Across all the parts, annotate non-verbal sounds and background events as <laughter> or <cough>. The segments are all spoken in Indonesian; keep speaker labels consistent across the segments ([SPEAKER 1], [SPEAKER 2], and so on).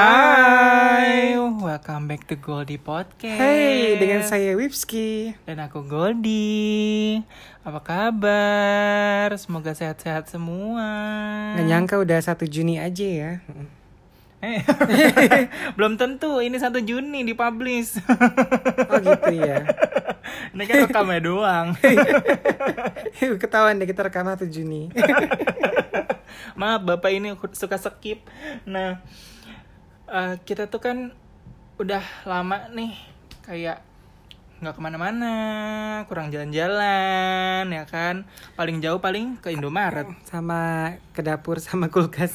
[SPEAKER 1] Hai.
[SPEAKER 2] welcome back to Goldie Podcast. Eh.
[SPEAKER 1] Hey, dengan saya Wipski.
[SPEAKER 2] dan aku Goldie. Apa kabar? Semoga sehat-sehat semua. Hmm.
[SPEAKER 1] Nggak nyangka udah 1 Juni aja ya.
[SPEAKER 2] Eh, <laughs> belum tentu. Ini 1 Juni dipublish. <laughs>
[SPEAKER 1] Oh gitu ya.
[SPEAKER 2] Ini kan rekamnya doang.
[SPEAKER 1] Ketahuan deh kita rekam 1 Juni.
[SPEAKER 2] Maaf, bapak ini suka skip. Nah, eh, kita tuh kan udah lama nih kayak nggak kemana-mana, kurang jalan-jalan, ya kan? Paling jauh paling ke Indomaret.
[SPEAKER 1] Sama ke dapur sama
[SPEAKER 2] <laughs>
[SPEAKER 1] kulkas.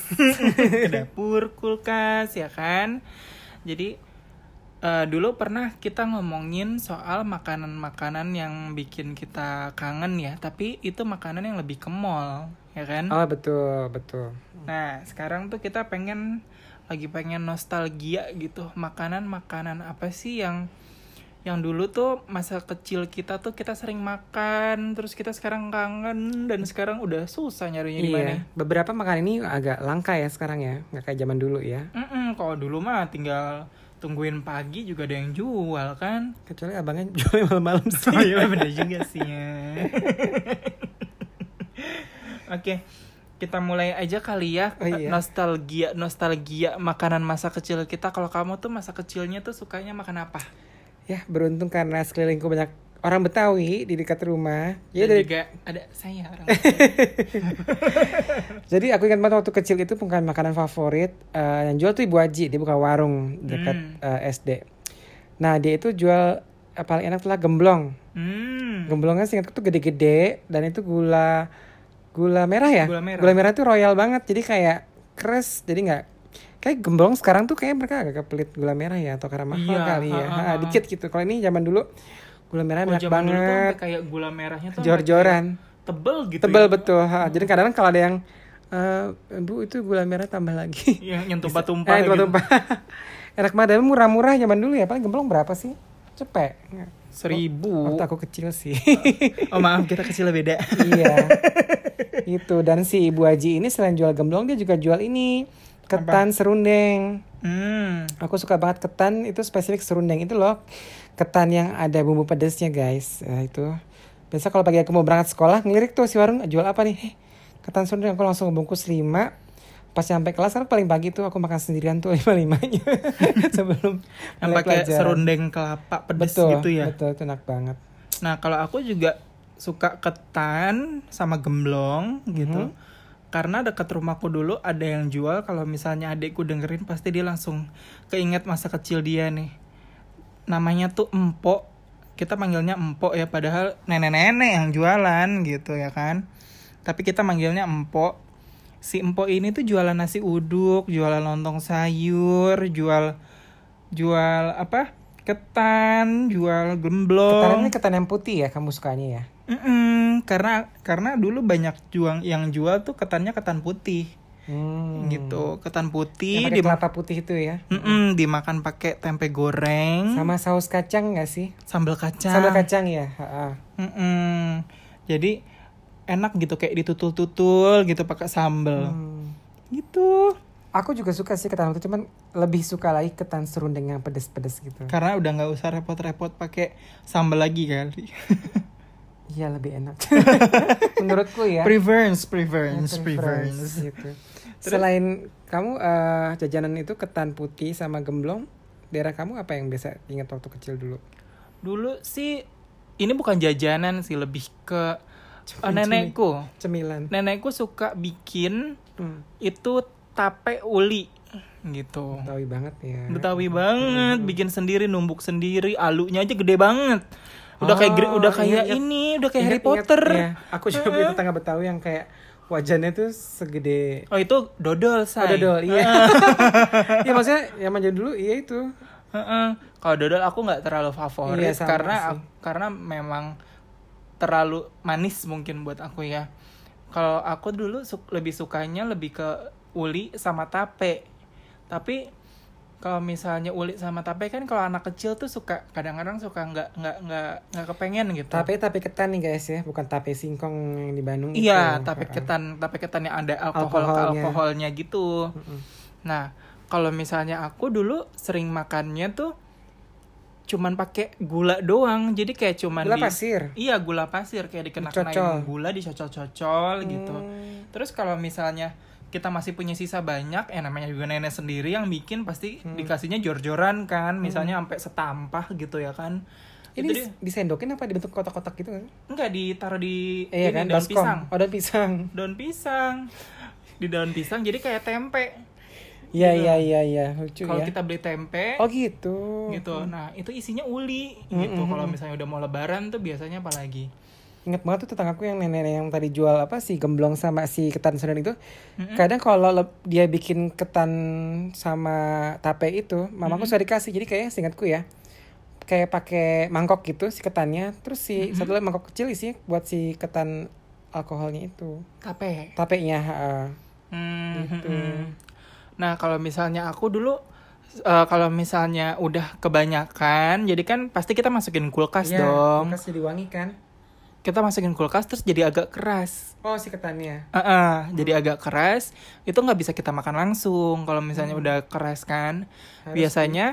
[SPEAKER 2] ke dapur kulkas ya kan jadi eh, dulu pernah kita ngomongin soal makanan-makanan yang bikin kita kangen ya tapi itu makanan yang lebih ke mall ya kan
[SPEAKER 1] Oh betul, betul.
[SPEAKER 2] nah sekarang tuh kita pengen lagi pengen nostalgia gitu makanan-makanan apa sih yang yang dulu tuh masa kecil kita tuh kita sering makan terus kita sekarang kangen dan sekarang udah susah nyarinya di mana
[SPEAKER 1] Iya, beberapa makanan ini agak langka ya sekarang ya, nggak kayak zaman dulu ya.
[SPEAKER 2] Mm-mm, kalau dulu mah tinggal tungguin pagi juga ada yang jual kan.
[SPEAKER 1] Kecuali abangnya <laughs> jualnya malam-malam sih. <laughs>
[SPEAKER 2] iya bener juga sih ya. Oke, kita mulai aja kali ya
[SPEAKER 1] Oh, iya.
[SPEAKER 2] nostalgia nostalgia makanan masa kecil kita. Kalau kamu tuh masa kecilnya tuh sukanya makan apa?
[SPEAKER 1] Ya beruntung karena sekelilingku banyak orang Betawi di dekat rumah. Ya
[SPEAKER 2] Dan
[SPEAKER 1] Jadi Iya, dari
[SPEAKER 2] juga ada saya
[SPEAKER 1] <laughs>
[SPEAKER 2] orang.
[SPEAKER 1] Jadi aku ingat banget waktu kecil itu bukan makanan favorit eh, yang jual tuh Ibu Aji, dia buka warung dekat
[SPEAKER 2] Hmm.
[SPEAKER 1] eh, SD. Nah, dia itu jual eh, paling enak adalah gemblong.
[SPEAKER 2] hmm.
[SPEAKER 1] Gemblongnya seingatku tuh gede-gede dan itu gula gula merah ya.
[SPEAKER 2] Gula merah.
[SPEAKER 1] itu royal banget. Jadi kayak keras, jadi nggak kayak gemblong sekarang tuh kayak mereka agak pelit gula merah ya atau karena mahal
[SPEAKER 2] Iya,
[SPEAKER 1] kali ya.
[SPEAKER 2] ha, ha,
[SPEAKER 1] Ha,
[SPEAKER 2] ha.
[SPEAKER 1] dikit gitu. Kalau ini zaman dulu gula merah
[SPEAKER 2] Kalau
[SPEAKER 1] enak
[SPEAKER 2] oh, zaman dulu tuh
[SPEAKER 1] banget.
[SPEAKER 2] sampai kayak gula merahnya tuh sampai
[SPEAKER 1] Jor-joran.
[SPEAKER 2] kayak tebel gitu.
[SPEAKER 1] Tebel
[SPEAKER 2] ya.
[SPEAKER 1] betul. Ha, Jadi kadang-kadang kalau ada yang eh bu itu gula merah tambah
[SPEAKER 2] <laughs>
[SPEAKER 1] lagi.
[SPEAKER 2] Iya, yang tumpah-tumpah.
[SPEAKER 1] Eh,
[SPEAKER 2] gitu.
[SPEAKER 1] tumpah-tumpah. <laughs> Enak banget dan murah-murah zaman dulu ya. Paling gemblong berapa sih? Cepet.
[SPEAKER 2] Seribu.
[SPEAKER 1] Waktu aku kecil sih.
[SPEAKER 2] Oh maaf, kita kecil beda.
[SPEAKER 1] <laughs> iya. Itu dan si Ibu Haji ini selain jual gemblong dia juga jual ini ketan serundeng.
[SPEAKER 2] Hmm.
[SPEAKER 1] Aku suka banget ketan itu spesifik serundeng itu loh. Ketan yang ada bumbu pedesnya guys. Nah, itu. Biasa kalau pagi aku mau berangkat sekolah ngelirik tuh si warung jual apa nih? Eh, ketan serundeng aku langsung bungkus 5 pas sampai kelas kan paling pagi tuh aku makan sendirian tuh <laughs>
[SPEAKER 2] <laughs>
[SPEAKER 1] lima limanya sebelum
[SPEAKER 2] yang
[SPEAKER 1] mulai
[SPEAKER 2] pakai
[SPEAKER 1] pelajaran.
[SPEAKER 2] serundeng kelapa pedes
[SPEAKER 1] betul
[SPEAKER 2] gitu ya.
[SPEAKER 1] betul itu enak banget
[SPEAKER 2] Nah, kalau aku juga suka ketan sama gemblong gitu. Karena dekat rumahku dulu ada yang jual kalau misalnya adikku dengerin pasti dia langsung keinget masa kecil dia nih. Namanya tuh Empok. Kita manggilnya Empok ya padahal nenek-nenek yang jualan gitu ya kan. Tapi kita manggilnya Empok. Si Empok ini tuh jualan nasi uduk, jualan lontong sayur, jual jual apa? ketan, jual gemblong.
[SPEAKER 1] ketan ini ketan yang putih ya kamu sukanya ya
[SPEAKER 2] Mm-mm, karena karena dulu banyak juang yang jual tuh ketannya ketan putih
[SPEAKER 1] hmm.
[SPEAKER 2] gitu ketan putih
[SPEAKER 1] yang
[SPEAKER 2] di
[SPEAKER 1] pakai kelapa putih itu ya
[SPEAKER 2] Mm-mm, dimakan pakai tempe goreng
[SPEAKER 1] sama saus kacang nggak sih
[SPEAKER 2] sambal Hmm? kacang
[SPEAKER 1] sambal kacang ya Ha-ha.
[SPEAKER 2] Mm-mm. jadi enak gitu kayak ditutul-tutul gitu pakai sambal
[SPEAKER 1] Hmm.
[SPEAKER 2] gitu
[SPEAKER 1] aku juga suka sih ketan itu cuman lebih suka lagi ketan serundeng yang pedes-pedes gitu
[SPEAKER 2] karena udah nggak usah repot-repot pakai sambal lagi kali
[SPEAKER 1] iya lebih
[SPEAKER 2] <laughs>
[SPEAKER 1] enak menurutku ya
[SPEAKER 2] preference preference
[SPEAKER 1] Preference
[SPEAKER 2] preference <laughs>
[SPEAKER 1] gitu. selain kamu eh, jajanan itu ketan putih sama gemblong daerah kamu apa yang biasa ingat waktu kecil dulu
[SPEAKER 2] dulu sih ini bukan jajanan sih lebih ke eh, nenekku
[SPEAKER 1] cemilan
[SPEAKER 2] nenekku suka bikin
[SPEAKER 1] hmm.
[SPEAKER 2] itu tape uli gitu.
[SPEAKER 1] betawi banget ya
[SPEAKER 2] Betawi banget, bikin sendiri, numbuk sendiri, alunya aja gede banget. Udah kayak gre-
[SPEAKER 1] Oh,
[SPEAKER 2] udah kayak
[SPEAKER 1] ingat, ingat.
[SPEAKER 2] ini, udah kayak Harry
[SPEAKER 1] Ingat-ingat,
[SPEAKER 2] Potter.
[SPEAKER 1] iya. aku juga punya tetangga betawi yang kayak wajannya tuh segede
[SPEAKER 2] Oh itu dodol
[SPEAKER 1] Oh,
[SPEAKER 2] say.
[SPEAKER 1] dodol, iya.
[SPEAKER 2] Ah.
[SPEAKER 1] <laughs> Iya maksudnya yang manja dulu iya itu.
[SPEAKER 2] Heeh. Kalau dodol aku nggak terlalu favorit
[SPEAKER 1] Iya, sama
[SPEAKER 2] karena
[SPEAKER 1] sih.
[SPEAKER 2] ak- karena memang terlalu manis mungkin buat aku ya. Kalau aku dulu su- lebih sukanya lebih ke uli sama tape. Tapi kalau misalnya uli sama tape kan kalau anak kecil tuh suka kadang-kadang suka nggak nggak nggak nggak kepengen gitu.
[SPEAKER 1] Tape tape ketan nih guys ya, bukan tape singkong yang di Bandung gitu.
[SPEAKER 2] Iya,
[SPEAKER 1] itu.
[SPEAKER 2] tape
[SPEAKER 1] Ha-ha.
[SPEAKER 2] ketan, tape ketan yang ada alkohol
[SPEAKER 1] Alkoholnya.
[SPEAKER 2] alkoholnya gitu.
[SPEAKER 1] Mm-mm.
[SPEAKER 2] Nah, Kalau misalnya aku dulu sering makannya tuh cuman pakai gula doang. Jadi kayak cuman
[SPEAKER 1] Gula
[SPEAKER 2] di-
[SPEAKER 1] pasir.
[SPEAKER 2] Iya, gula pasir kayak
[SPEAKER 1] Dicocol.
[SPEAKER 2] dikenakan gula dicocol-cocol gitu.
[SPEAKER 1] Hmm.
[SPEAKER 2] Terus kalau misalnya kita masih punya sisa banyak, eh namanya juga nenek sendiri yang bikin pasti
[SPEAKER 1] Hmm.
[SPEAKER 2] dikasihnya jor-joran kan, misalnya sampai setampah gitu ya kan.
[SPEAKER 1] Ini
[SPEAKER 2] Itu dia-
[SPEAKER 1] disendokin apa dibentuk kotak-kotak gitu kan?
[SPEAKER 2] enggak ditaruh di
[SPEAKER 1] Eh, iya
[SPEAKER 2] ini,
[SPEAKER 1] kan,
[SPEAKER 2] daun
[SPEAKER 1] baskom.
[SPEAKER 2] pisang.
[SPEAKER 1] Oh, daun pisang.
[SPEAKER 2] Daun pisang. Di daun pisang jadi kayak tempe.
[SPEAKER 1] Iya, iya, iya, iya, lucu
[SPEAKER 2] Gitu. Kalau
[SPEAKER 1] ya.
[SPEAKER 2] kita beli tempe
[SPEAKER 1] Oh gitu.
[SPEAKER 2] gitu. Nah, itu isinya uli gitu. Kalau misalnya udah mau lebaran tuh biasanya apa lagi?
[SPEAKER 1] Ingat banget tuh tetanggaku yang nenek yang tadi jual apa si gemblong sama si ketan sedang itu. Kadang kalau le- dia bikin ketan sama tape itu, mamaku suka dikasih. Jadi kayak seingatku ya. Kayak pakai mangkok gitu si ketannya, terus si satu lagi mangkok kecil sih buat si ketan alkoholnya itu.
[SPEAKER 2] Tape.
[SPEAKER 1] Tapenya, heeh.
[SPEAKER 2] Hmm,
[SPEAKER 1] Gitu.
[SPEAKER 2] hmm. Nah, kalau misalnya aku dulu eh, kalau misalnya udah kebanyakan, jadi kan pasti kita masukin kulkas
[SPEAKER 1] Iya,
[SPEAKER 2] dong.
[SPEAKER 1] bekas jadi wangi kan?
[SPEAKER 2] Kita masukin kulkas terus jadi agak keras.
[SPEAKER 1] Oh, si ketannya.
[SPEAKER 2] Ah, ah, jadi agak keras. Itu nggak bisa kita makan langsung. Kalau misalnya udah keras kan,
[SPEAKER 1] Hmm. Harus
[SPEAKER 2] biasanya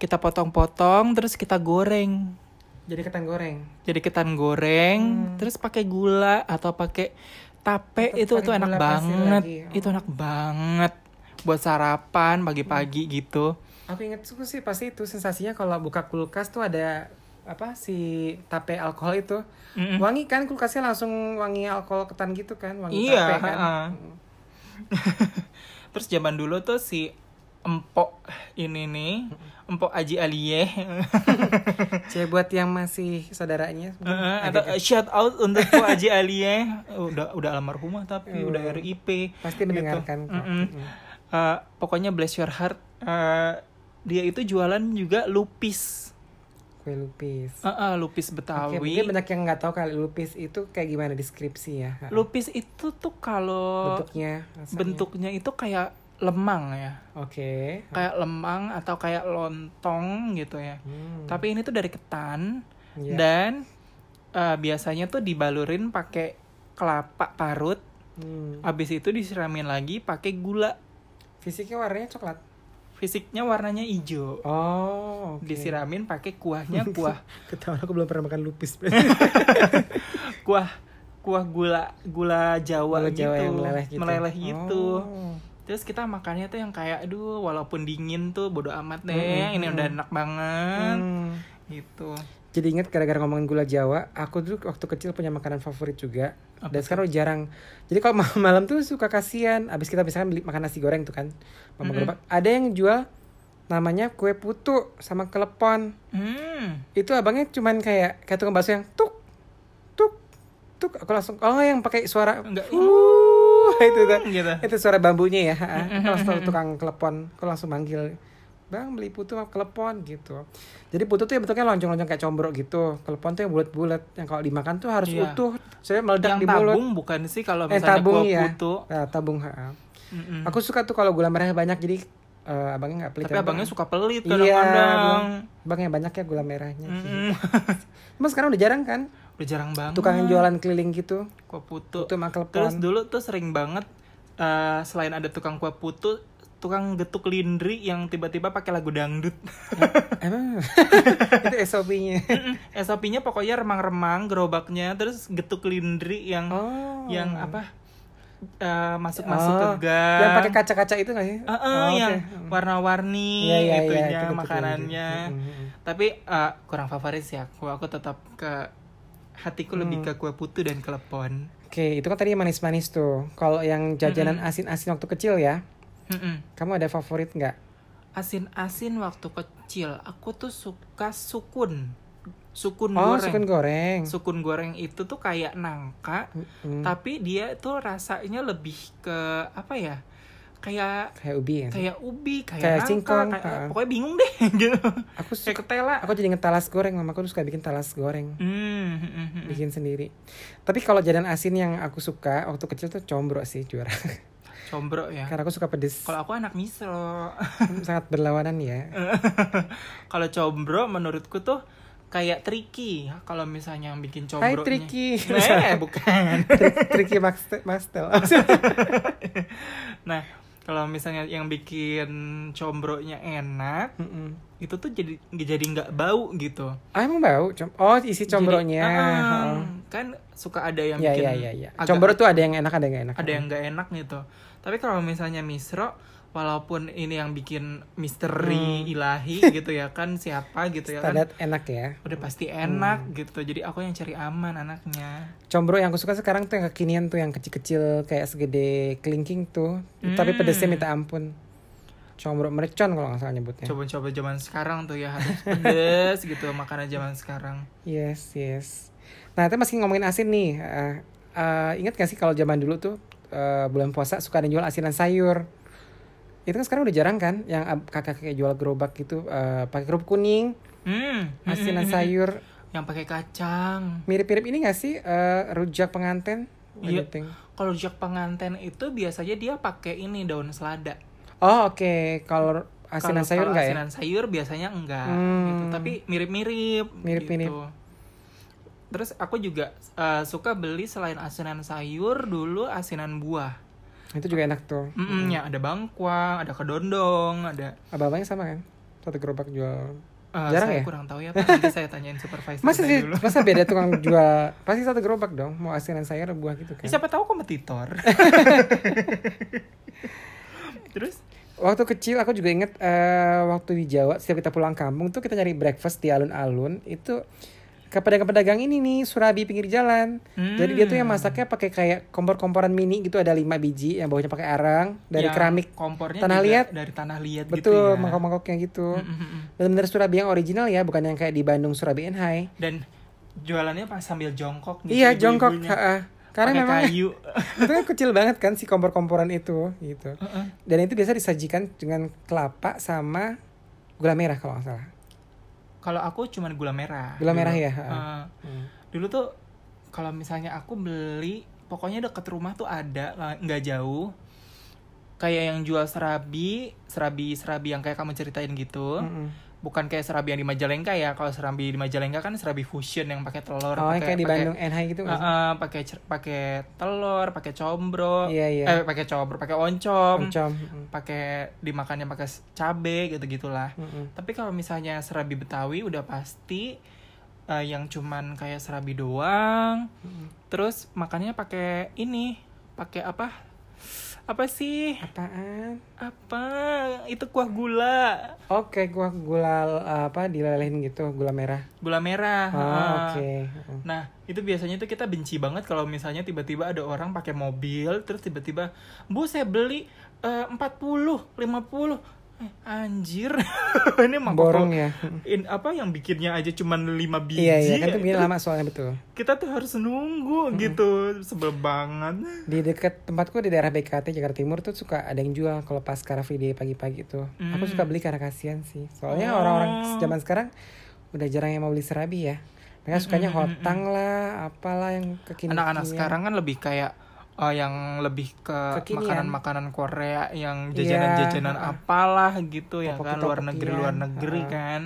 [SPEAKER 2] kita potong-potong terus kita goreng.
[SPEAKER 1] Jadi ketan goreng.
[SPEAKER 2] Jadi ketan
[SPEAKER 1] Hmm.
[SPEAKER 2] goreng, terus pakai gula atau pakai tape itu
[SPEAKER 1] pakai
[SPEAKER 2] itu enak
[SPEAKER 1] gula pasir
[SPEAKER 2] banget.
[SPEAKER 1] lagi, oh.
[SPEAKER 2] Itu enak banget buat sarapan pagi-pagi
[SPEAKER 1] Hmm.
[SPEAKER 2] gitu.
[SPEAKER 1] Aku inget suku sih pasti itu sensasinya kalau buka kulkas tuh ada apa si tape alkohol itu
[SPEAKER 2] Mm-mm.
[SPEAKER 1] wangi kan kulkasnya langsung wangi alkohol ketan gitu kan wangi
[SPEAKER 2] Iya,
[SPEAKER 1] tape kan
[SPEAKER 2] ha-ha. Terus zaman dulu tuh si empok ini nih,
[SPEAKER 1] Hmm.
[SPEAKER 2] empok Aji Aliye
[SPEAKER 1] Jadi buat yang masih saudaranya
[SPEAKER 2] <laughs>
[SPEAKER 1] mungkin
[SPEAKER 2] Heeh,
[SPEAKER 1] ada
[SPEAKER 2] atau eh,
[SPEAKER 1] kan?
[SPEAKER 2] shout out untuk Mpok
[SPEAKER 1] <laughs>
[SPEAKER 2] Aji Aliye udah udah almarhumah tapi
[SPEAKER 1] Iya.
[SPEAKER 2] udah RIP.
[SPEAKER 1] pasti mendengarkan kok.
[SPEAKER 2] gitu. Mm-mm. Eh, pokoknya bless your heart. Eh, dia itu jualan juga lupis.
[SPEAKER 1] kue lupis
[SPEAKER 2] Eh, eh, lupis
[SPEAKER 1] Oke,
[SPEAKER 2] Betawi.
[SPEAKER 1] mungkin banyak yang nggak tahu kali lupis itu kayak gimana deskripsi ya ha.
[SPEAKER 2] Lupis itu tuh kalau
[SPEAKER 1] bentuknya rasanya.
[SPEAKER 2] bentuknya itu kayak lemang ya,
[SPEAKER 1] oke
[SPEAKER 2] kayak lemang atau kayak lontong gitu ya.
[SPEAKER 1] Hmm,
[SPEAKER 2] Tapi ini tuh dari ketan
[SPEAKER 1] Iya.
[SPEAKER 2] dan eh, biasanya tuh dibalurin pakai kelapa parut,
[SPEAKER 1] hmm.
[SPEAKER 2] habis itu disiramin lagi pakai gula.
[SPEAKER 1] fisiknya warnanya coklat
[SPEAKER 2] Fisiknya warnanya hijau.
[SPEAKER 1] oh oke.
[SPEAKER 2] Disiramin pakai kuahnya
[SPEAKER 1] <laughs>
[SPEAKER 2] kuah
[SPEAKER 1] ketahuan aku belum pernah makan lupis
[SPEAKER 2] <laughs> kuah kuah gula gula Jawa
[SPEAKER 1] Gula
[SPEAKER 2] gitu,
[SPEAKER 1] Jawa yang meleleh gitu.
[SPEAKER 2] gitu.
[SPEAKER 1] Oh.
[SPEAKER 2] Terus kita makannya tuh yang kayak aduh walaupun dingin tuh bodo amat deh, ini udah enak banget
[SPEAKER 1] Hmm.
[SPEAKER 2] gitu.
[SPEAKER 1] Jadi ingat gara-gara ngomongin gula Jawa, aku dulu waktu kecil punya makanan favorit juga. dan sekarang udah jarang. Jadi kalau <laughs> ma- malam tuh suka kasihan. Abis kita misalkan beli makan nasi goreng tuh kan, mama gerobak. Ada yang jual namanya kue putu sama kelepon.
[SPEAKER 2] <laughs> Hmm.
[SPEAKER 1] Itu abangnya cuman kayak kayak tukang bakso yang tuk tuk tuk. Aku langsung oh yang pakai suara "Uh,
[SPEAKER 2] Enggak.
[SPEAKER 1] "Wuh," itu tuh.
[SPEAKER 2] gitu.
[SPEAKER 1] Itu suara bambunya ya. Kalau langsung tukang kelepon, kalau langsung manggil, "Bang, beli putu sama kelepon" gitu. Jadi putu tuh yang bentuknya lonjong-lonjong kayak combro gitu. Kelepon tuh yang bulat-bulat. Yang kalau dimakan tuh harus
[SPEAKER 2] Iya.
[SPEAKER 1] utuh. Saya meledak
[SPEAKER 2] Yang
[SPEAKER 1] di mulut.
[SPEAKER 2] tabung bukan sih kalau
[SPEAKER 1] eh
[SPEAKER 2] misalnya
[SPEAKER 1] tabung
[SPEAKER 2] gua
[SPEAKER 1] ya.
[SPEAKER 2] putu.
[SPEAKER 1] Nah, tabung, ha.
[SPEAKER 2] Mm-mm.
[SPEAKER 1] Aku suka tuh kalau gula merahnya banyak jadi eh, abangnya nggak pelit.
[SPEAKER 2] Tapi abangnya suka pelit
[SPEAKER 1] Iya,
[SPEAKER 2] kadang-kadang.
[SPEAKER 1] abangnya banyak ya gula merahnya.
[SPEAKER 2] Mm-mm.
[SPEAKER 1] Emang sekarang udah jarang kan?
[SPEAKER 2] <laughs> Udah jarang banget.
[SPEAKER 1] Tukang jualan keliling gitu.
[SPEAKER 2] Kuah putu.
[SPEAKER 1] Putu sama
[SPEAKER 2] Mm. Terus
[SPEAKER 1] kelepon.
[SPEAKER 2] dulu tuh sering banget eh, selain ada tukang kuah putu, tukang getuk lindri yang tiba-tiba pakai lagu dangdut. <laughs>
[SPEAKER 1] Emang itu SOP-nya.
[SPEAKER 2] SOP-nya pokoknya remang-remang gerobaknya, terus getuk lindri yang
[SPEAKER 1] Oh.
[SPEAKER 2] yang apa eh, masuk-masuk
[SPEAKER 1] Oh,
[SPEAKER 2] ke gang
[SPEAKER 1] yang pakai kaca-kaca itu nggak sih?
[SPEAKER 2] Eh, eh,
[SPEAKER 1] Oh, oke.
[SPEAKER 2] yang warna-warni
[SPEAKER 1] Iya, iya, iya,
[SPEAKER 2] itunya,
[SPEAKER 1] itu betul-betul.
[SPEAKER 2] makanannya
[SPEAKER 1] Mm, mm, mm.
[SPEAKER 2] tapi eh, kurang favorit sih aku aku tetap ke hatiku
[SPEAKER 1] Mm.
[SPEAKER 2] lebih ke kue putu dan kelepon
[SPEAKER 1] Oke, itu kan tadi yang manis-manis tuh. Kalau yang jajanan asin-asin waktu kecil ya,
[SPEAKER 2] Mm-mm.
[SPEAKER 1] kamu ada favorit nggak?
[SPEAKER 2] asin-asin waktu kecil aku tuh suka sukun sukun
[SPEAKER 1] Oh,
[SPEAKER 2] goreng
[SPEAKER 1] sukun goreng.
[SPEAKER 2] sukun goreng itu tuh kayak nangka
[SPEAKER 1] Mm,
[SPEAKER 2] tapi dia tuh rasanya lebih ke apa ya kayak
[SPEAKER 1] Kayak ubi ya.
[SPEAKER 2] kayak ubi kayak,
[SPEAKER 1] Kayak
[SPEAKER 2] nangka,
[SPEAKER 1] singkong,
[SPEAKER 2] kayak-
[SPEAKER 1] heeh.
[SPEAKER 2] pokoknya bingung deh <laughs> gitu
[SPEAKER 1] Aku
[SPEAKER 2] kayak
[SPEAKER 1] suka,
[SPEAKER 2] ketela
[SPEAKER 1] aku jadi inget talas goreng. Mamaku tuh suka bikin talas goreng,
[SPEAKER 2] Hmm, hmm, hmm, hmm.
[SPEAKER 1] bikin sendiri. Tapi kalau jajanan asin yang aku suka waktu kecil tuh combro sih juara.
[SPEAKER 2] combro ya
[SPEAKER 1] <laughs> Karena aku suka pedes,
[SPEAKER 2] kalau Eh, aku anak misro <laughs>
[SPEAKER 1] sangat berlawanan ya.
[SPEAKER 2] kalau combro menurutku tuh kayak tricky kalau misalnya yang bikin combro
[SPEAKER 1] Hai Triki,
[SPEAKER 2] <laughs> Nah.
[SPEAKER 1] <laughs>
[SPEAKER 2] eh bukan <laughs>
[SPEAKER 1] Triki Max- Maxtel.
[SPEAKER 2] nah kalau misalnya yang bikin combronya enak
[SPEAKER 1] Mm-mm.
[SPEAKER 2] itu tuh jadi jadi nggak bau gitu
[SPEAKER 1] Ah, emang bau? Com- Oh, isi
[SPEAKER 2] Jadi,
[SPEAKER 1] combronya.
[SPEAKER 2] ah,
[SPEAKER 1] Heeh.
[SPEAKER 2] kan suka ada yang
[SPEAKER 1] Ya,
[SPEAKER 2] bikin
[SPEAKER 1] ya, ya, ya.
[SPEAKER 2] agak-
[SPEAKER 1] Combro tuh ada yang enak, ada yang gak enak.
[SPEAKER 2] ada yang nggak enak gitu tapi kalau misalnya misro walaupun ini yang bikin misteri
[SPEAKER 1] <laughs>
[SPEAKER 2] ilahi gitu ya kan siapa gitu ya kan
[SPEAKER 1] Hmm. Standar Hmm. enak ya.
[SPEAKER 2] udah pasti enak gitu jadi aku yang cari aman anaknya
[SPEAKER 1] Combro yang aku suka sekarang tuh yang kekinian tuh yang kecil-kecil kayak segede kelingking tuh. Tapi
[SPEAKER 2] Hmm.
[SPEAKER 1] pedesnya minta ampun. Combro mercon kalau nggak salah nyebutnya.
[SPEAKER 2] coba-coba zaman sekarang tuh ya harus
[SPEAKER 1] <laughs>
[SPEAKER 2] pedes gitu makanan zaman sekarang
[SPEAKER 1] Yes, yes. Nah, tapi masih ngomongin asin nih. Eh, eh, ingat gak sih kalau zaman dulu tuh eh, bulan puasa suka ada yang jual asinan sayur. Itu kan sekarang udah jarang kan yang ab- kakak-kakak jual gerobak gitu eh, pakai kerupuk kuning,
[SPEAKER 2] hmm
[SPEAKER 1] asinan sayur.
[SPEAKER 2] yang pakai kacang
[SPEAKER 1] Mirip-mirip ini gak sih eh, rujak penganten? What do you
[SPEAKER 2] Iya.
[SPEAKER 1] think?
[SPEAKER 2] kalau rujak penganten itu biasanya dia pakai ini daun selada
[SPEAKER 1] Oh, oke. Kalau
[SPEAKER 2] Kalau-
[SPEAKER 1] asinan sayur
[SPEAKER 2] kalau
[SPEAKER 1] nggak ya?
[SPEAKER 2] asinan sayur biasanya enggak
[SPEAKER 1] Hmm.
[SPEAKER 2] gitu. tapi mirip-mirip
[SPEAKER 1] Mirip-mirip.
[SPEAKER 2] gitu. terus aku juga eh, suka beli selain asinan sayur dulu asinan buah
[SPEAKER 1] Itu juga enak tuh.
[SPEAKER 2] Mm-mm, ya ada bangkuang ada kedondong ada
[SPEAKER 1] Abang-abangnya sama kan? Satu gerobak jual.
[SPEAKER 2] eh,
[SPEAKER 1] Jarang
[SPEAKER 2] saya
[SPEAKER 1] ya?
[SPEAKER 2] kurang tahu ya Pak. nanti saya tanyain supervisor
[SPEAKER 1] Masa
[SPEAKER 2] saya
[SPEAKER 1] sih,
[SPEAKER 2] dulu
[SPEAKER 1] masa beda
[SPEAKER 2] <laughs>
[SPEAKER 1] tukang jual? Pasti satu gerobak dong. Mau asinan sayur buah gitu kan?
[SPEAKER 2] Ya, siapa tahu kompetitor
[SPEAKER 1] <laughs>
[SPEAKER 2] terus
[SPEAKER 1] Waktu kecil aku juga inget eh, waktu di Jawa setiap kita pulang kampung tuh kita nyari breakfast di alun-alun itu ke pedagang-pedagang ini nih surabi pinggir jalan. Jadi dia tuh
[SPEAKER 2] Hmm.
[SPEAKER 1] yang masaknya pakai kayak kompor-komporan mini gitu ada lima biji yang bawahnya pakai arang dari
[SPEAKER 2] Yang
[SPEAKER 1] keramik.
[SPEAKER 2] ya, kompornya
[SPEAKER 1] Tanah
[SPEAKER 2] juga
[SPEAKER 1] liat.
[SPEAKER 2] dari tanah liat gitu
[SPEAKER 1] Betul,
[SPEAKER 2] ya.
[SPEAKER 1] mangkok-mangkoknya gitu.
[SPEAKER 2] Mm-mm.
[SPEAKER 1] Bener-bener surabi yang original ya, bukan yang kayak di Bandung surabi Enhai.
[SPEAKER 2] dan jualannya pas sambil jongkok gitu
[SPEAKER 1] Iya, jongkok.
[SPEAKER 2] ibu-ibunya.
[SPEAKER 1] ha-ha. Karena
[SPEAKER 2] Pakai
[SPEAKER 1] memang
[SPEAKER 2] kayu
[SPEAKER 1] <laughs>
[SPEAKER 2] Eh,
[SPEAKER 1] itu kan kecil banget kan si kompor-komporan itu gitu.
[SPEAKER 2] eh.
[SPEAKER 1] Dan itu biasa disajikan dengan kelapa sama gula merah kalau nggak salah.
[SPEAKER 2] kalau aku cuman gula merah
[SPEAKER 1] Gula merah ya,
[SPEAKER 2] Eh,
[SPEAKER 1] Hmm.
[SPEAKER 2] dulu tuh kalau misalnya aku beli pokoknya deket rumah tuh ada nggak- nggak jauh kayak yang jual serabi serabi serabi yang kayak kamu ceritain gitu
[SPEAKER 1] Mm-mm.
[SPEAKER 2] bukan kayak serabi yang di Majalengka ya kalau serabi di Majalengka kan serabi fusion yang pakai telur
[SPEAKER 1] Oh, yang
[SPEAKER 2] pakai-
[SPEAKER 1] kayak di
[SPEAKER 2] pakai-
[SPEAKER 1] Bandung NH gitu nggak sih?
[SPEAKER 2] Heeh, pakai cer- pakai telur, pakai combro,
[SPEAKER 1] Iya, iya.
[SPEAKER 2] eh pakai combro, pakai oncom,
[SPEAKER 1] Oncom.
[SPEAKER 2] pakai dimakannya pakai s- cabe gitu gitulah.
[SPEAKER 1] Mm-mm.
[SPEAKER 2] Tapi kalau misalnya serabi Betawi udah pasti eh, yang cuman kayak serabi doang, terus makannya pakai ini, pakai apa? Apa sih?
[SPEAKER 1] Apaan?
[SPEAKER 2] Apa? Itu kuah gula,
[SPEAKER 1] Oke, gua gula apa dilelehin gitu, gula merah.
[SPEAKER 2] gula merah.
[SPEAKER 1] Oh,
[SPEAKER 2] heeh.
[SPEAKER 1] oke.
[SPEAKER 2] Nah, itu biasanya tuh kita benci banget kalau misalnya tiba-tiba ada orang pakai mobil, terus tiba-tiba, bu saya beli eh, 40, 50, Eh, anjir, <laughs> ini mah
[SPEAKER 1] Borong ya.
[SPEAKER 2] In, apa yang bikinnya aja cuman 5 biji.
[SPEAKER 1] Iya, iya, kan itu bikin
[SPEAKER 2] Terus
[SPEAKER 1] lama soalnya betul.
[SPEAKER 2] Kita tuh harus nunggu gitu, sebel banget.
[SPEAKER 1] Di dekat tempatku di daerah BKT Jakarta Timur tuh suka ada yang jual kalau pas Car Free Day pagi-pagi tuh. Aku suka beli karena kasihan sih.
[SPEAKER 2] Hmm.
[SPEAKER 1] Soalnya
[SPEAKER 2] Oh.
[SPEAKER 1] orang-orang zaman sekarang udah jarang yang mau beli serabi ya.
[SPEAKER 2] Hmm,
[SPEAKER 1] Mereka sukanya hotang lah, apalah yang kekinian.
[SPEAKER 2] Anak-anak sekarang kan lebih kayak eh, yang lebih ke
[SPEAKER 1] Kekinian.
[SPEAKER 2] makanan-makanan Korea, yang
[SPEAKER 1] Iya,
[SPEAKER 2] jajanan-jajanan
[SPEAKER 1] heeh.
[SPEAKER 2] apalah gitu ya kan luar
[SPEAKER 1] Tteokbokki-tteokbokkian,
[SPEAKER 2] negeri luar negeri
[SPEAKER 1] heeh.
[SPEAKER 2] kan.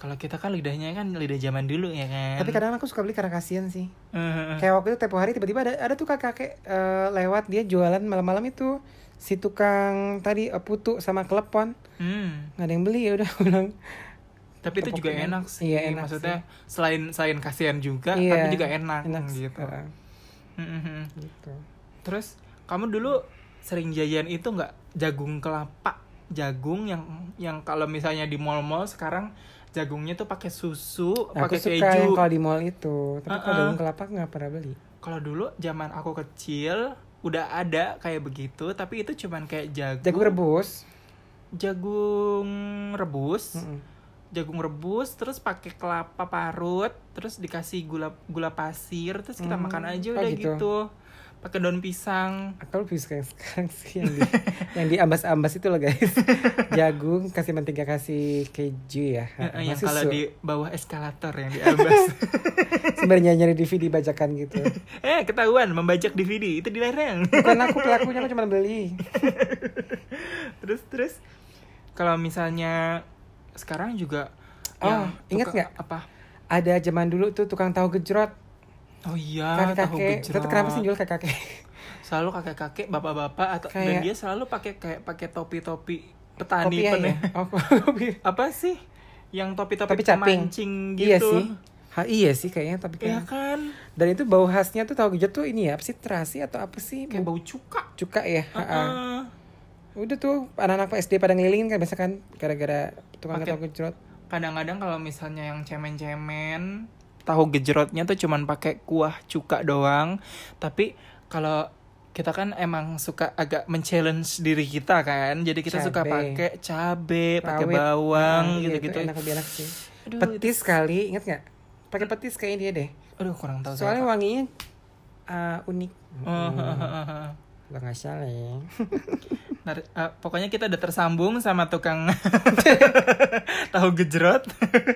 [SPEAKER 2] Kalau kita kan lidahnya kan lidah zaman dulu ya kan.
[SPEAKER 1] Tapi kadang aku suka beli karena kasihan sih.
[SPEAKER 2] Heeh.
[SPEAKER 1] Kayak waktu itu tempo hari tiba-tiba ada ada tuh kakak kakek eh, lewat dia jualan malam-malam itu si tukang tadi eh, putu sama klepon
[SPEAKER 2] Hmm.
[SPEAKER 1] nggak ada yang beli ya udah aku bilang
[SPEAKER 2] Tapi itu juga
[SPEAKER 1] Tteokbokki.
[SPEAKER 2] enak sih.
[SPEAKER 1] Iya, enak
[SPEAKER 2] Maksudnya selain selain kasihan juga,
[SPEAKER 1] Iya,
[SPEAKER 2] tapi juga enak,
[SPEAKER 1] enak sih,
[SPEAKER 2] gitu.
[SPEAKER 1] eh,
[SPEAKER 2] Heeh.
[SPEAKER 1] gitu.
[SPEAKER 2] Terus kamu dulu sering jajan itu nggak jagung kelapa, jagung yang yang kalau misalnya di mall-mall sekarang jagungnya tuh pakai susu,
[SPEAKER 1] Nah,
[SPEAKER 2] pakai
[SPEAKER 1] aku suka
[SPEAKER 2] keju.
[SPEAKER 1] yang kalau di mall itu tapi kalau
[SPEAKER 2] Uh-uh.
[SPEAKER 1] daun kelapa nggak pernah beli
[SPEAKER 2] Kalau dulu zaman aku kecil udah ada kayak begitu, tapi itu cuman kayak jagung
[SPEAKER 1] jagung rebus
[SPEAKER 2] jagung rebus,
[SPEAKER 1] Mm-mm.
[SPEAKER 2] jagung rebus terus pakai kelapa parut, terus dikasih gula gula pasir, terus kita
[SPEAKER 1] Hmm,
[SPEAKER 2] makan aja
[SPEAKER 1] oh
[SPEAKER 2] udah
[SPEAKER 1] gitu.
[SPEAKER 2] gitu. Pakai daun pisang.
[SPEAKER 1] aku lebih suka yang sekarang sih yang di
[SPEAKER 2] <laughs>
[SPEAKER 1] yang di ambas-ambas itu loh guys jagung kasih mentega kasih keju ya
[SPEAKER 2] Eh, eh,
[SPEAKER 1] sama
[SPEAKER 2] yang kalau
[SPEAKER 1] susu.
[SPEAKER 2] di bawah eskalator yang di Elbas.
[SPEAKER 1] sebenarnya nyari DVD bajakan gitu
[SPEAKER 2] eh, ketahuan membajak DVD itu dilarang. <laughs>
[SPEAKER 1] bukan aku pelakunya aku cuma beli
[SPEAKER 2] terus terus kalau misalnya sekarang juga
[SPEAKER 1] Oh,
[SPEAKER 2] yang
[SPEAKER 1] ingat
[SPEAKER 2] tukang-
[SPEAKER 1] nggak?
[SPEAKER 2] Apa?
[SPEAKER 1] ada zaman dulu tuh tukang tahu gejrot
[SPEAKER 2] Oh iya, tahu
[SPEAKER 1] kakek kakek itu
[SPEAKER 2] gejrot.
[SPEAKER 1] kenapa sih jual kakek kakek
[SPEAKER 2] selalu kakek-kakek, bapak-bapak atau dan
[SPEAKER 1] Kayak-
[SPEAKER 2] dia selalu pakai kayak pakai topi-topi petani
[SPEAKER 1] Kopiah
[SPEAKER 2] pene-
[SPEAKER 1] ya? Oh, kopi.
[SPEAKER 2] <laughs> Apa sih? Yang topi-topi
[SPEAKER 1] Topi caping.
[SPEAKER 2] pemancing gitu.
[SPEAKER 1] Iya sih. Ha, iya sih kayaknya tapi
[SPEAKER 2] Iya
[SPEAKER 1] kayak.
[SPEAKER 2] kan?
[SPEAKER 1] Dan itu bau khasnya tuh tahu gejot tuh ini ya, apa sih terasi atau apa sih?
[SPEAKER 2] Kayak
[SPEAKER 1] Bau
[SPEAKER 2] bau cuka.
[SPEAKER 1] cuka ya.
[SPEAKER 2] Ah,
[SPEAKER 1] Ha, ha.
[SPEAKER 2] Heeh.
[SPEAKER 1] Udah tuh anak-anak SD pada ngelilingin kan biasa kan gara-gara tukang
[SPEAKER 2] Pakai-
[SPEAKER 1] tahu gejot.
[SPEAKER 2] Kadang-kadang kalau misalnya yang cemen-cemen, tahu gejrotnya tuh cuman pakai kuah cuka doang. Tapi kalau kita kan emang suka agak men-challenge diri kita kan. Jadi kita suka
[SPEAKER 1] Cabe.
[SPEAKER 2] pakai cabe, pakai
[SPEAKER 1] Rawit. Ah,
[SPEAKER 2] bawang
[SPEAKER 1] iya,
[SPEAKER 2] gitu-gitu.
[SPEAKER 1] itu Enak lebih enak sih.
[SPEAKER 2] Aduh,
[SPEAKER 1] petis kali, inget nggak? Pakai petis kayaknya dia deh.
[SPEAKER 2] Aduh kurang tahu saya,
[SPEAKER 1] Soalnya wanginya ah, unik.
[SPEAKER 2] Pak. Oh,
[SPEAKER 1] Lo nggak salah ya.
[SPEAKER 2] <laughs> Ntar, eh, pokoknya kita udah tersambung sama tukang <laughs> tahu gejrot. <laughs>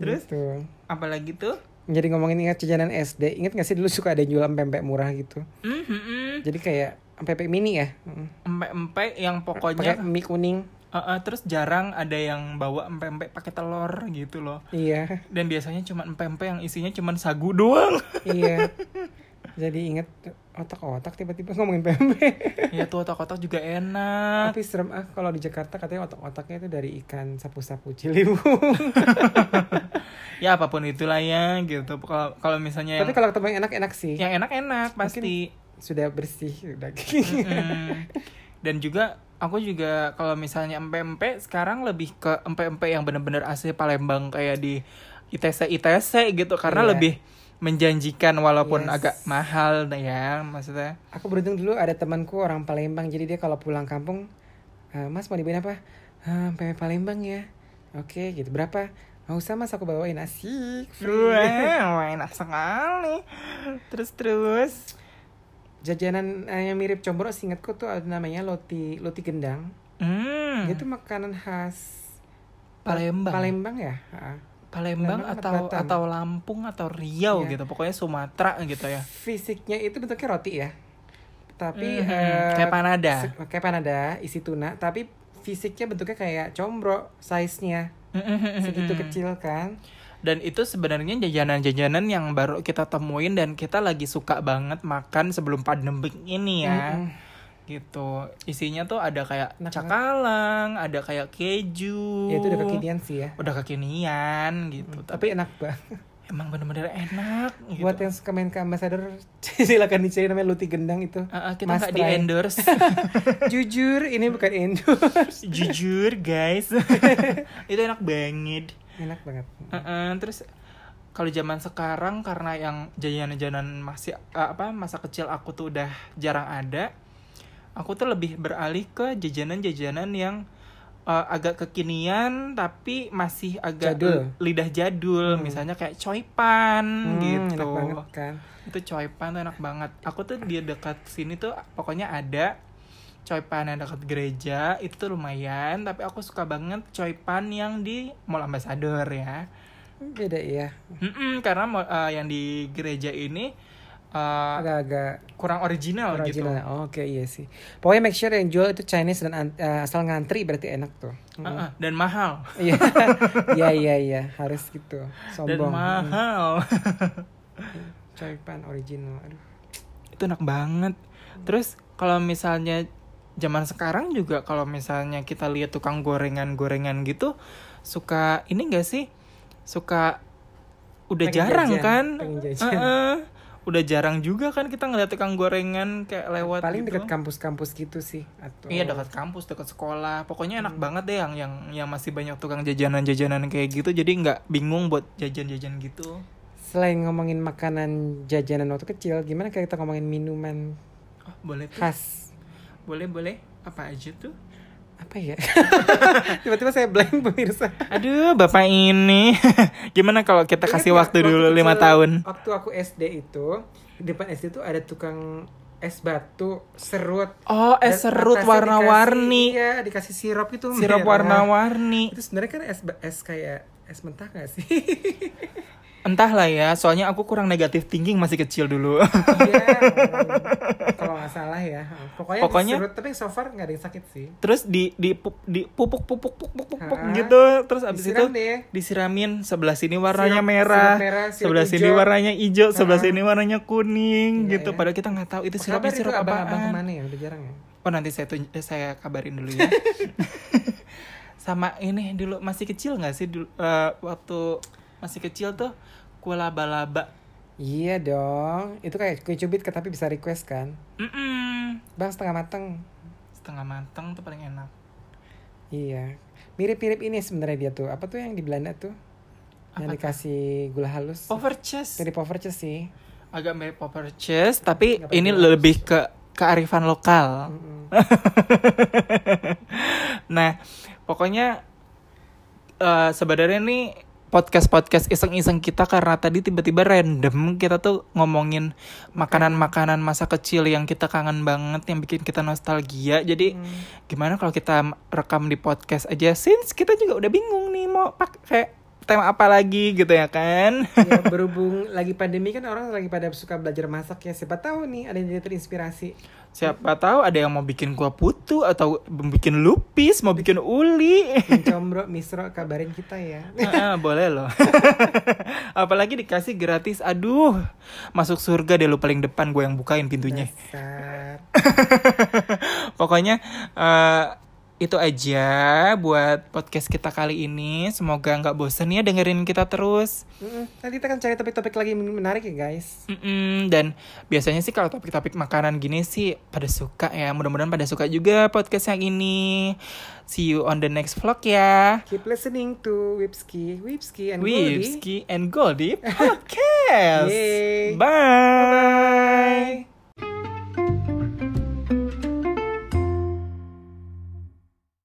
[SPEAKER 2] Terus
[SPEAKER 1] Gitu.
[SPEAKER 2] apalagi tuh?
[SPEAKER 1] Jadi ngomongin ingat jajanan SD, inget gak sih dulu suka ada yang jualan pempek murah gitu?
[SPEAKER 2] Mhm.
[SPEAKER 1] Jadi kayak pempek mini ya, Mm.
[SPEAKER 2] Empe-empe yang
[SPEAKER 1] pakai
[SPEAKER 2] pokoknya
[SPEAKER 1] mie kuning.
[SPEAKER 2] eh, eh, terus jarang ada yang bawa empe-empe pakai telur gitu loh.
[SPEAKER 1] Iya, <laughs>
[SPEAKER 2] Dan biasanya cuma empe-empe yang isinya cuma sagu doang. <laughs>
[SPEAKER 1] iya. Jadi inget otak-otak tiba-tiba ngomongin pempek.
[SPEAKER 2] ya tuh otak-otak juga enak.
[SPEAKER 1] Tapi serem ah kalau di Jakarta katanya otak-otaknya itu dari ikan sapu-sapu
[SPEAKER 2] <laughs>
[SPEAKER 1] Ciliwung.
[SPEAKER 2] Ya apapun itulah ya gitu. Kalau kalau misalnya
[SPEAKER 1] Tapi
[SPEAKER 2] yang,
[SPEAKER 1] kalau ketemu yang enak-enak sih.
[SPEAKER 2] yang enak-enak pasti.
[SPEAKER 1] Sudah bersih daging.
[SPEAKER 2] Mm. Dan juga aku juga kalau misalnya empe-empe sekarang lebih ke empe-empe yang bener-bener asli Palembang kayak di ITC ITC gitu karena
[SPEAKER 1] Iya.
[SPEAKER 2] lebih menjanjikan walaupun
[SPEAKER 1] Yes.
[SPEAKER 2] agak mahal nah ya maksudnya.
[SPEAKER 1] <laughs> Aku beruntung dulu ada temanku orang Palembang jadi dia kalau pulang kampung "Eh, Mas mau dibawain apa? "Ah, Pempek Palembang ya. Oke gitu berapa? Nggak usah mas aku bawain asik. free."
[SPEAKER 2] Wow, enak sekali. Terus terus.
[SPEAKER 1] Jajanan eh, yang mirip combro seingatku tuh ada namanya loti loti gendang.
[SPEAKER 2] Hmm.
[SPEAKER 1] Itu makanan khas
[SPEAKER 2] Palembang.
[SPEAKER 1] Palembang ya. Ha.
[SPEAKER 2] Palembang
[SPEAKER 1] Palembang atau
[SPEAKER 2] atau
[SPEAKER 1] Batam?
[SPEAKER 2] atau Lampung atau Riau
[SPEAKER 1] Iya.
[SPEAKER 2] gitu. Pokoknya Sumatera gitu ya.
[SPEAKER 1] Fisiknya itu bentuknya roti ya. Tapi
[SPEAKER 2] Mhm.
[SPEAKER 1] eh,
[SPEAKER 2] kayak panada.
[SPEAKER 1] se- kayak panada isi tuna tapi fisiknya bentuknya kayak combro size-nya
[SPEAKER 2] <laughs>
[SPEAKER 1] segitu kecil kan.
[SPEAKER 2] Dan itu sebenarnya jajanan-jajanan yang baru kita temuin dan kita lagi suka banget makan sebelum pandemik ini ya.
[SPEAKER 1] Mm-mm.
[SPEAKER 2] Gitu. Isinya tuh ada kayak
[SPEAKER 1] Enak banget.
[SPEAKER 2] cakalang, ada kayak keju.
[SPEAKER 1] Ya itu udah kekinian sih ya.
[SPEAKER 2] Udah kekinian gitu. Tapi
[SPEAKER 1] Tapi enak banget.
[SPEAKER 2] emang bener-bener enak gitu.
[SPEAKER 1] Buat yang suka main ke Ambassador, <laughs> silakan dicari namanya Luti Gendang itu.
[SPEAKER 2] Ah, ah, kita
[SPEAKER 1] Must
[SPEAKER 2] nggak di
[SPEAKER 1] try.
[SPEAKER 2] endorse
[SPEAKER 1] <laughs> Jujur, ini bukan endorse. <laughs>
[SPEAKER 2] jujur guys itu enak banget
[SPEAKER 1] Enak banget.
[SPEAKER 2] Heeh, terus kalau zaman sekarang karena yang jajanan-jajanan masih eh, apa masa kecil aku tuh udah jarang ada. Aku tuh lebih beralih ke jajanan-jajanan yang eh, agak kekinian tapi masih agak
[SPEAKER 1] Jadul.
[SPEAKER 2] l- lidah jadul. Misalnya kayak coipan
[SPEAKER 1] Hmm,
[SPEAKER 2] gitu.
[SPEAKER 1] Enak banget kan.
[SPEAKER 2] Itu coipan tuh enak banget. Aku tuh di dekat sini tuh pokoknya ada coipan yang dekat gereja itu tuh lumayan tapi aku suka banget coipan yang di Mall Ambassador ya.
[SPEAKER 1] Beda ya.
[SPEAKER 2] Mm-mm, karena mo- eh, yang di gereja ini eh,
[SPEAKER 1] Agak-agak
[SPEAKER 2] kurang original,
[SPEAKER 1] original.
[SPEAKER 2] gitu.
[SPEAKER 1] Oh, Oke, iya sih. Pokoknya make sure yang jual itu Chinese dan an- eh, asal ngantri berarti enak tuh. Mm.
[SPEAKER 2] Ah, ah, dan mahal.
[SPEAKER 1] Iya. <laughs> Iya, iya, iya, harus gitu.
[SPEAKER 2] Dan
[SPEAKER 1] Sombong.
[SPEAKER 2] mahal.
[SPEAKER 1] Coy pan original. Aduh.
[SPEAKER 2] Itu enak banget. Terus kalau misalnya zaman sekarang juga kalau misalnya kita lihat tukang gorengan-gorengan gitu suka ini enggak sih? Suka udah
[SPEAKER 1] Pengen
[SPEAKER 2] jarang
[SPEAKER 1] jajan,
[SPEAKER 2] kan?
[SPEAKER 1] pengen jajan.
[SPEAKER 2] Ah, ah. udah jarang juga kan kita ngeliat tukang gorengan kayak lewat
[SPEAKER 1] Paling
[SPEAKER 2] gitu.
[SPEAKER 1] dekat kampus-kampus gitu sih atau
[SPEAKER 2] Iya dekat kampus, dekat sekolah. Pokoknya
[SPEAKER 1] Hmm.
[SPEAKER 2] enak banget deh yang yang yang masih banyak tukang jajanan-jajanan kayak gitu. Jadi nggak bingung buat jajan-jajan gitu.
[SPEAKER 1] Selain ngomongin makanan jajanan waktu kecil, gimana kayak kita ngomongin minuman
[SPEAKER 2] Oh, boleh tuh.
[SPEAKER 1] khas?
[SPEAKER 2] Boleh boleh. Apa aja tuh?
[SPEAKER 1] Apa ya? <laughs> Tiba-tiba saya blank pemirsa.
[SPEAKER 2] Aduh, bapak ini. <laughs> Gimana kalau kita kasih
[SPEAKER 1] Ingat
[SPEAKER 2] waktu
[SPEAKER 1] nggak
[SPEAKER 2] dulu
[SPEAKER 1] kecil,
[SPEAKER 2] lima tahun?
[SPEAKER 1] Iya, Waktu aku SD itu, di depan SD itu ada tukang es batu serut.
[SPEAKER 2] Oh, es
[SPEAKER 1] Dan
[SPEAKER 2] serut
[SPEAKER 1] atasnya dikasih-
[SPEAKER 2] warna-warni.
[SPEAKER 1] Iya, dikasih sirup itu.
[SPEAKER 2] Sirup
[SPEAKER 1] merah.
[SPEAKER 2] warna-warni.
[SPEAKER 1] <laughs> Itu sebenarnya kan es ba- es kayak es mentah gak sih?
[SPEAKER 2] Entahlah ya, soalnya aku kurang negatif thinking masih kecil dulu. <laughs>
[SPEAKER 1] Iya, hmm, kalau nggak salah ya. Pokoknya,
[SPEAKER 2] Pokoknya-
[SPEAKER 1] diserut, tapi so far nggak ada yang sakit sih.
[SPEAKER 2] terus di di pu- di pupuk pupuk pupuk pupuk, pupuk
[SPEAKER 1] Ha-ha.
[SPEAKER 2] gitu, terus abis
[SPEAKER 1] Disiram
[SPEAKER 2] itu
[SPEAKER 1] deh.
[SPEAKER 2] disiramin sebelah sini warnanya
[SPEAKER 1] Sirup-
[SPEAKER 2] merah,
[SPEAKER 1] sirup merah, sirup
[SPEAKER 2] sebelah sini
[SPEAKER 1] hijau.
[SPEAKER 2] warnanya hijau, sebelah
[SPEAKER 1] Ha-ha.
[SPEAKER 2] sini warnanya kuning
[SPEAKER 1] Gila
[SPEAKER 2] gitu.
[SPEAKER 1] ya.
[SPEAKER 2] Padahal kita nggak tahu itu sirup
[SPEAKER 1] Kabar itu
[SPEAKER 2] sirup
[SPEAKER 1] abang-abang
[SPEAKER 2] apaan.
[SPEAKER 1] kemana ya? Udah jarang ya.
[SPEAKER 2] Oh nanti saya tunj- eh, saya kabarin dulu
[SPEAKER 1] <laughs>
[SPEAKER 2] ya. Sama ini dulu masih kecil nggak sih dulu, eh, waktu masih kecil tuh kue laba-laba.
[SPEAKER 1] Iya dong, itu kayak kue cubit tapi bisa request kan.
[SPEAKER 2] Mm-mm.
[SPEAKER 1] Bang setengah mateng.
[SPEAKER 2] Setengah matang tuh paling enak.
[SPEAKER 1] Iya. Mirip-mirip ini sebenarnya dia tuh. Apa tuh yang di Belanda tuh? Oh.
[SPEAKER 2] Apa tuh?
[SPEAKER 1] yang dikasih gula halus.
[SPEAKER 2] Overchest.
[SPEAKER 1] Dari Poverches sih.
[SPEAKER 2] agak mirip popper cheese tapi
[SPEAKER 1] Nggak
[SPEAKER 2] ini
[SPEAKER 1] pakai gula.
[SPEAKER 2] lebih ke kearifan lokal.
[SPEAKER 1] Mm-mm.
[SPEAKER 2] <laughs> Nah, pokoknya eh, sebenarnya nih podcast-podcast iseng-iseng kita karena tadi tiba-tiba random kita tuh ngomongin makanan-makanan masa kecil yang kita kangen banget yang bikin kita nostalgia. Jadi gimana kalau kita rekam di podcast aja since kita juga udah bingung nih mau pakai tema apa lagi gitu ya kan. <laughs>
[SPEAKER 1] Iya, berhubung lagi pandemi kan orang lagi pada suka belajar masak ya. Siapa tahu nih ada yang jadi terinspirasi.
[SPEAKER 2] Siapa tahu ada yang mau bikin gua putu atau bikin lupis, mau bikin uli. <laughs>
[SPEAKER 1] Yang Combro, misro, kabarin kita ya.
[SPEAKER 2] Ah, ah, boleh loh.
[SPEAKER 1] <laughs>
[SPEAKER 2] Apalagi dikasih gratis. Aduh, masuk surga deh lu paling depan gue yang bukain pintunya.
[SPEAKER 1] Dasar.
[SPEAKER 2] Pokoknya eh, itu aja buat podcast kita kali ini. Semoga nggak bosen ya dengerin kita terus.
[SPEAKER 1] Mm-mm. Nanti kita akan cari topik-topik lagi menarik ya guys.
[SPEAKER 2] Mm-mm, dan biasanya sih kalau topik-topik makanan gini sih pada suka ya. Mudah-mudahan pada suka juga podcast yang ini. See you on the next vlog ya.
[SPEAKER 1] Keep listening to Wipski, Wipski and Goldie.
[SPEAKER 2] Wipski and Goldie podcast.
[SPEAKER 1] Yay.
[SPEAKER 2] Bye.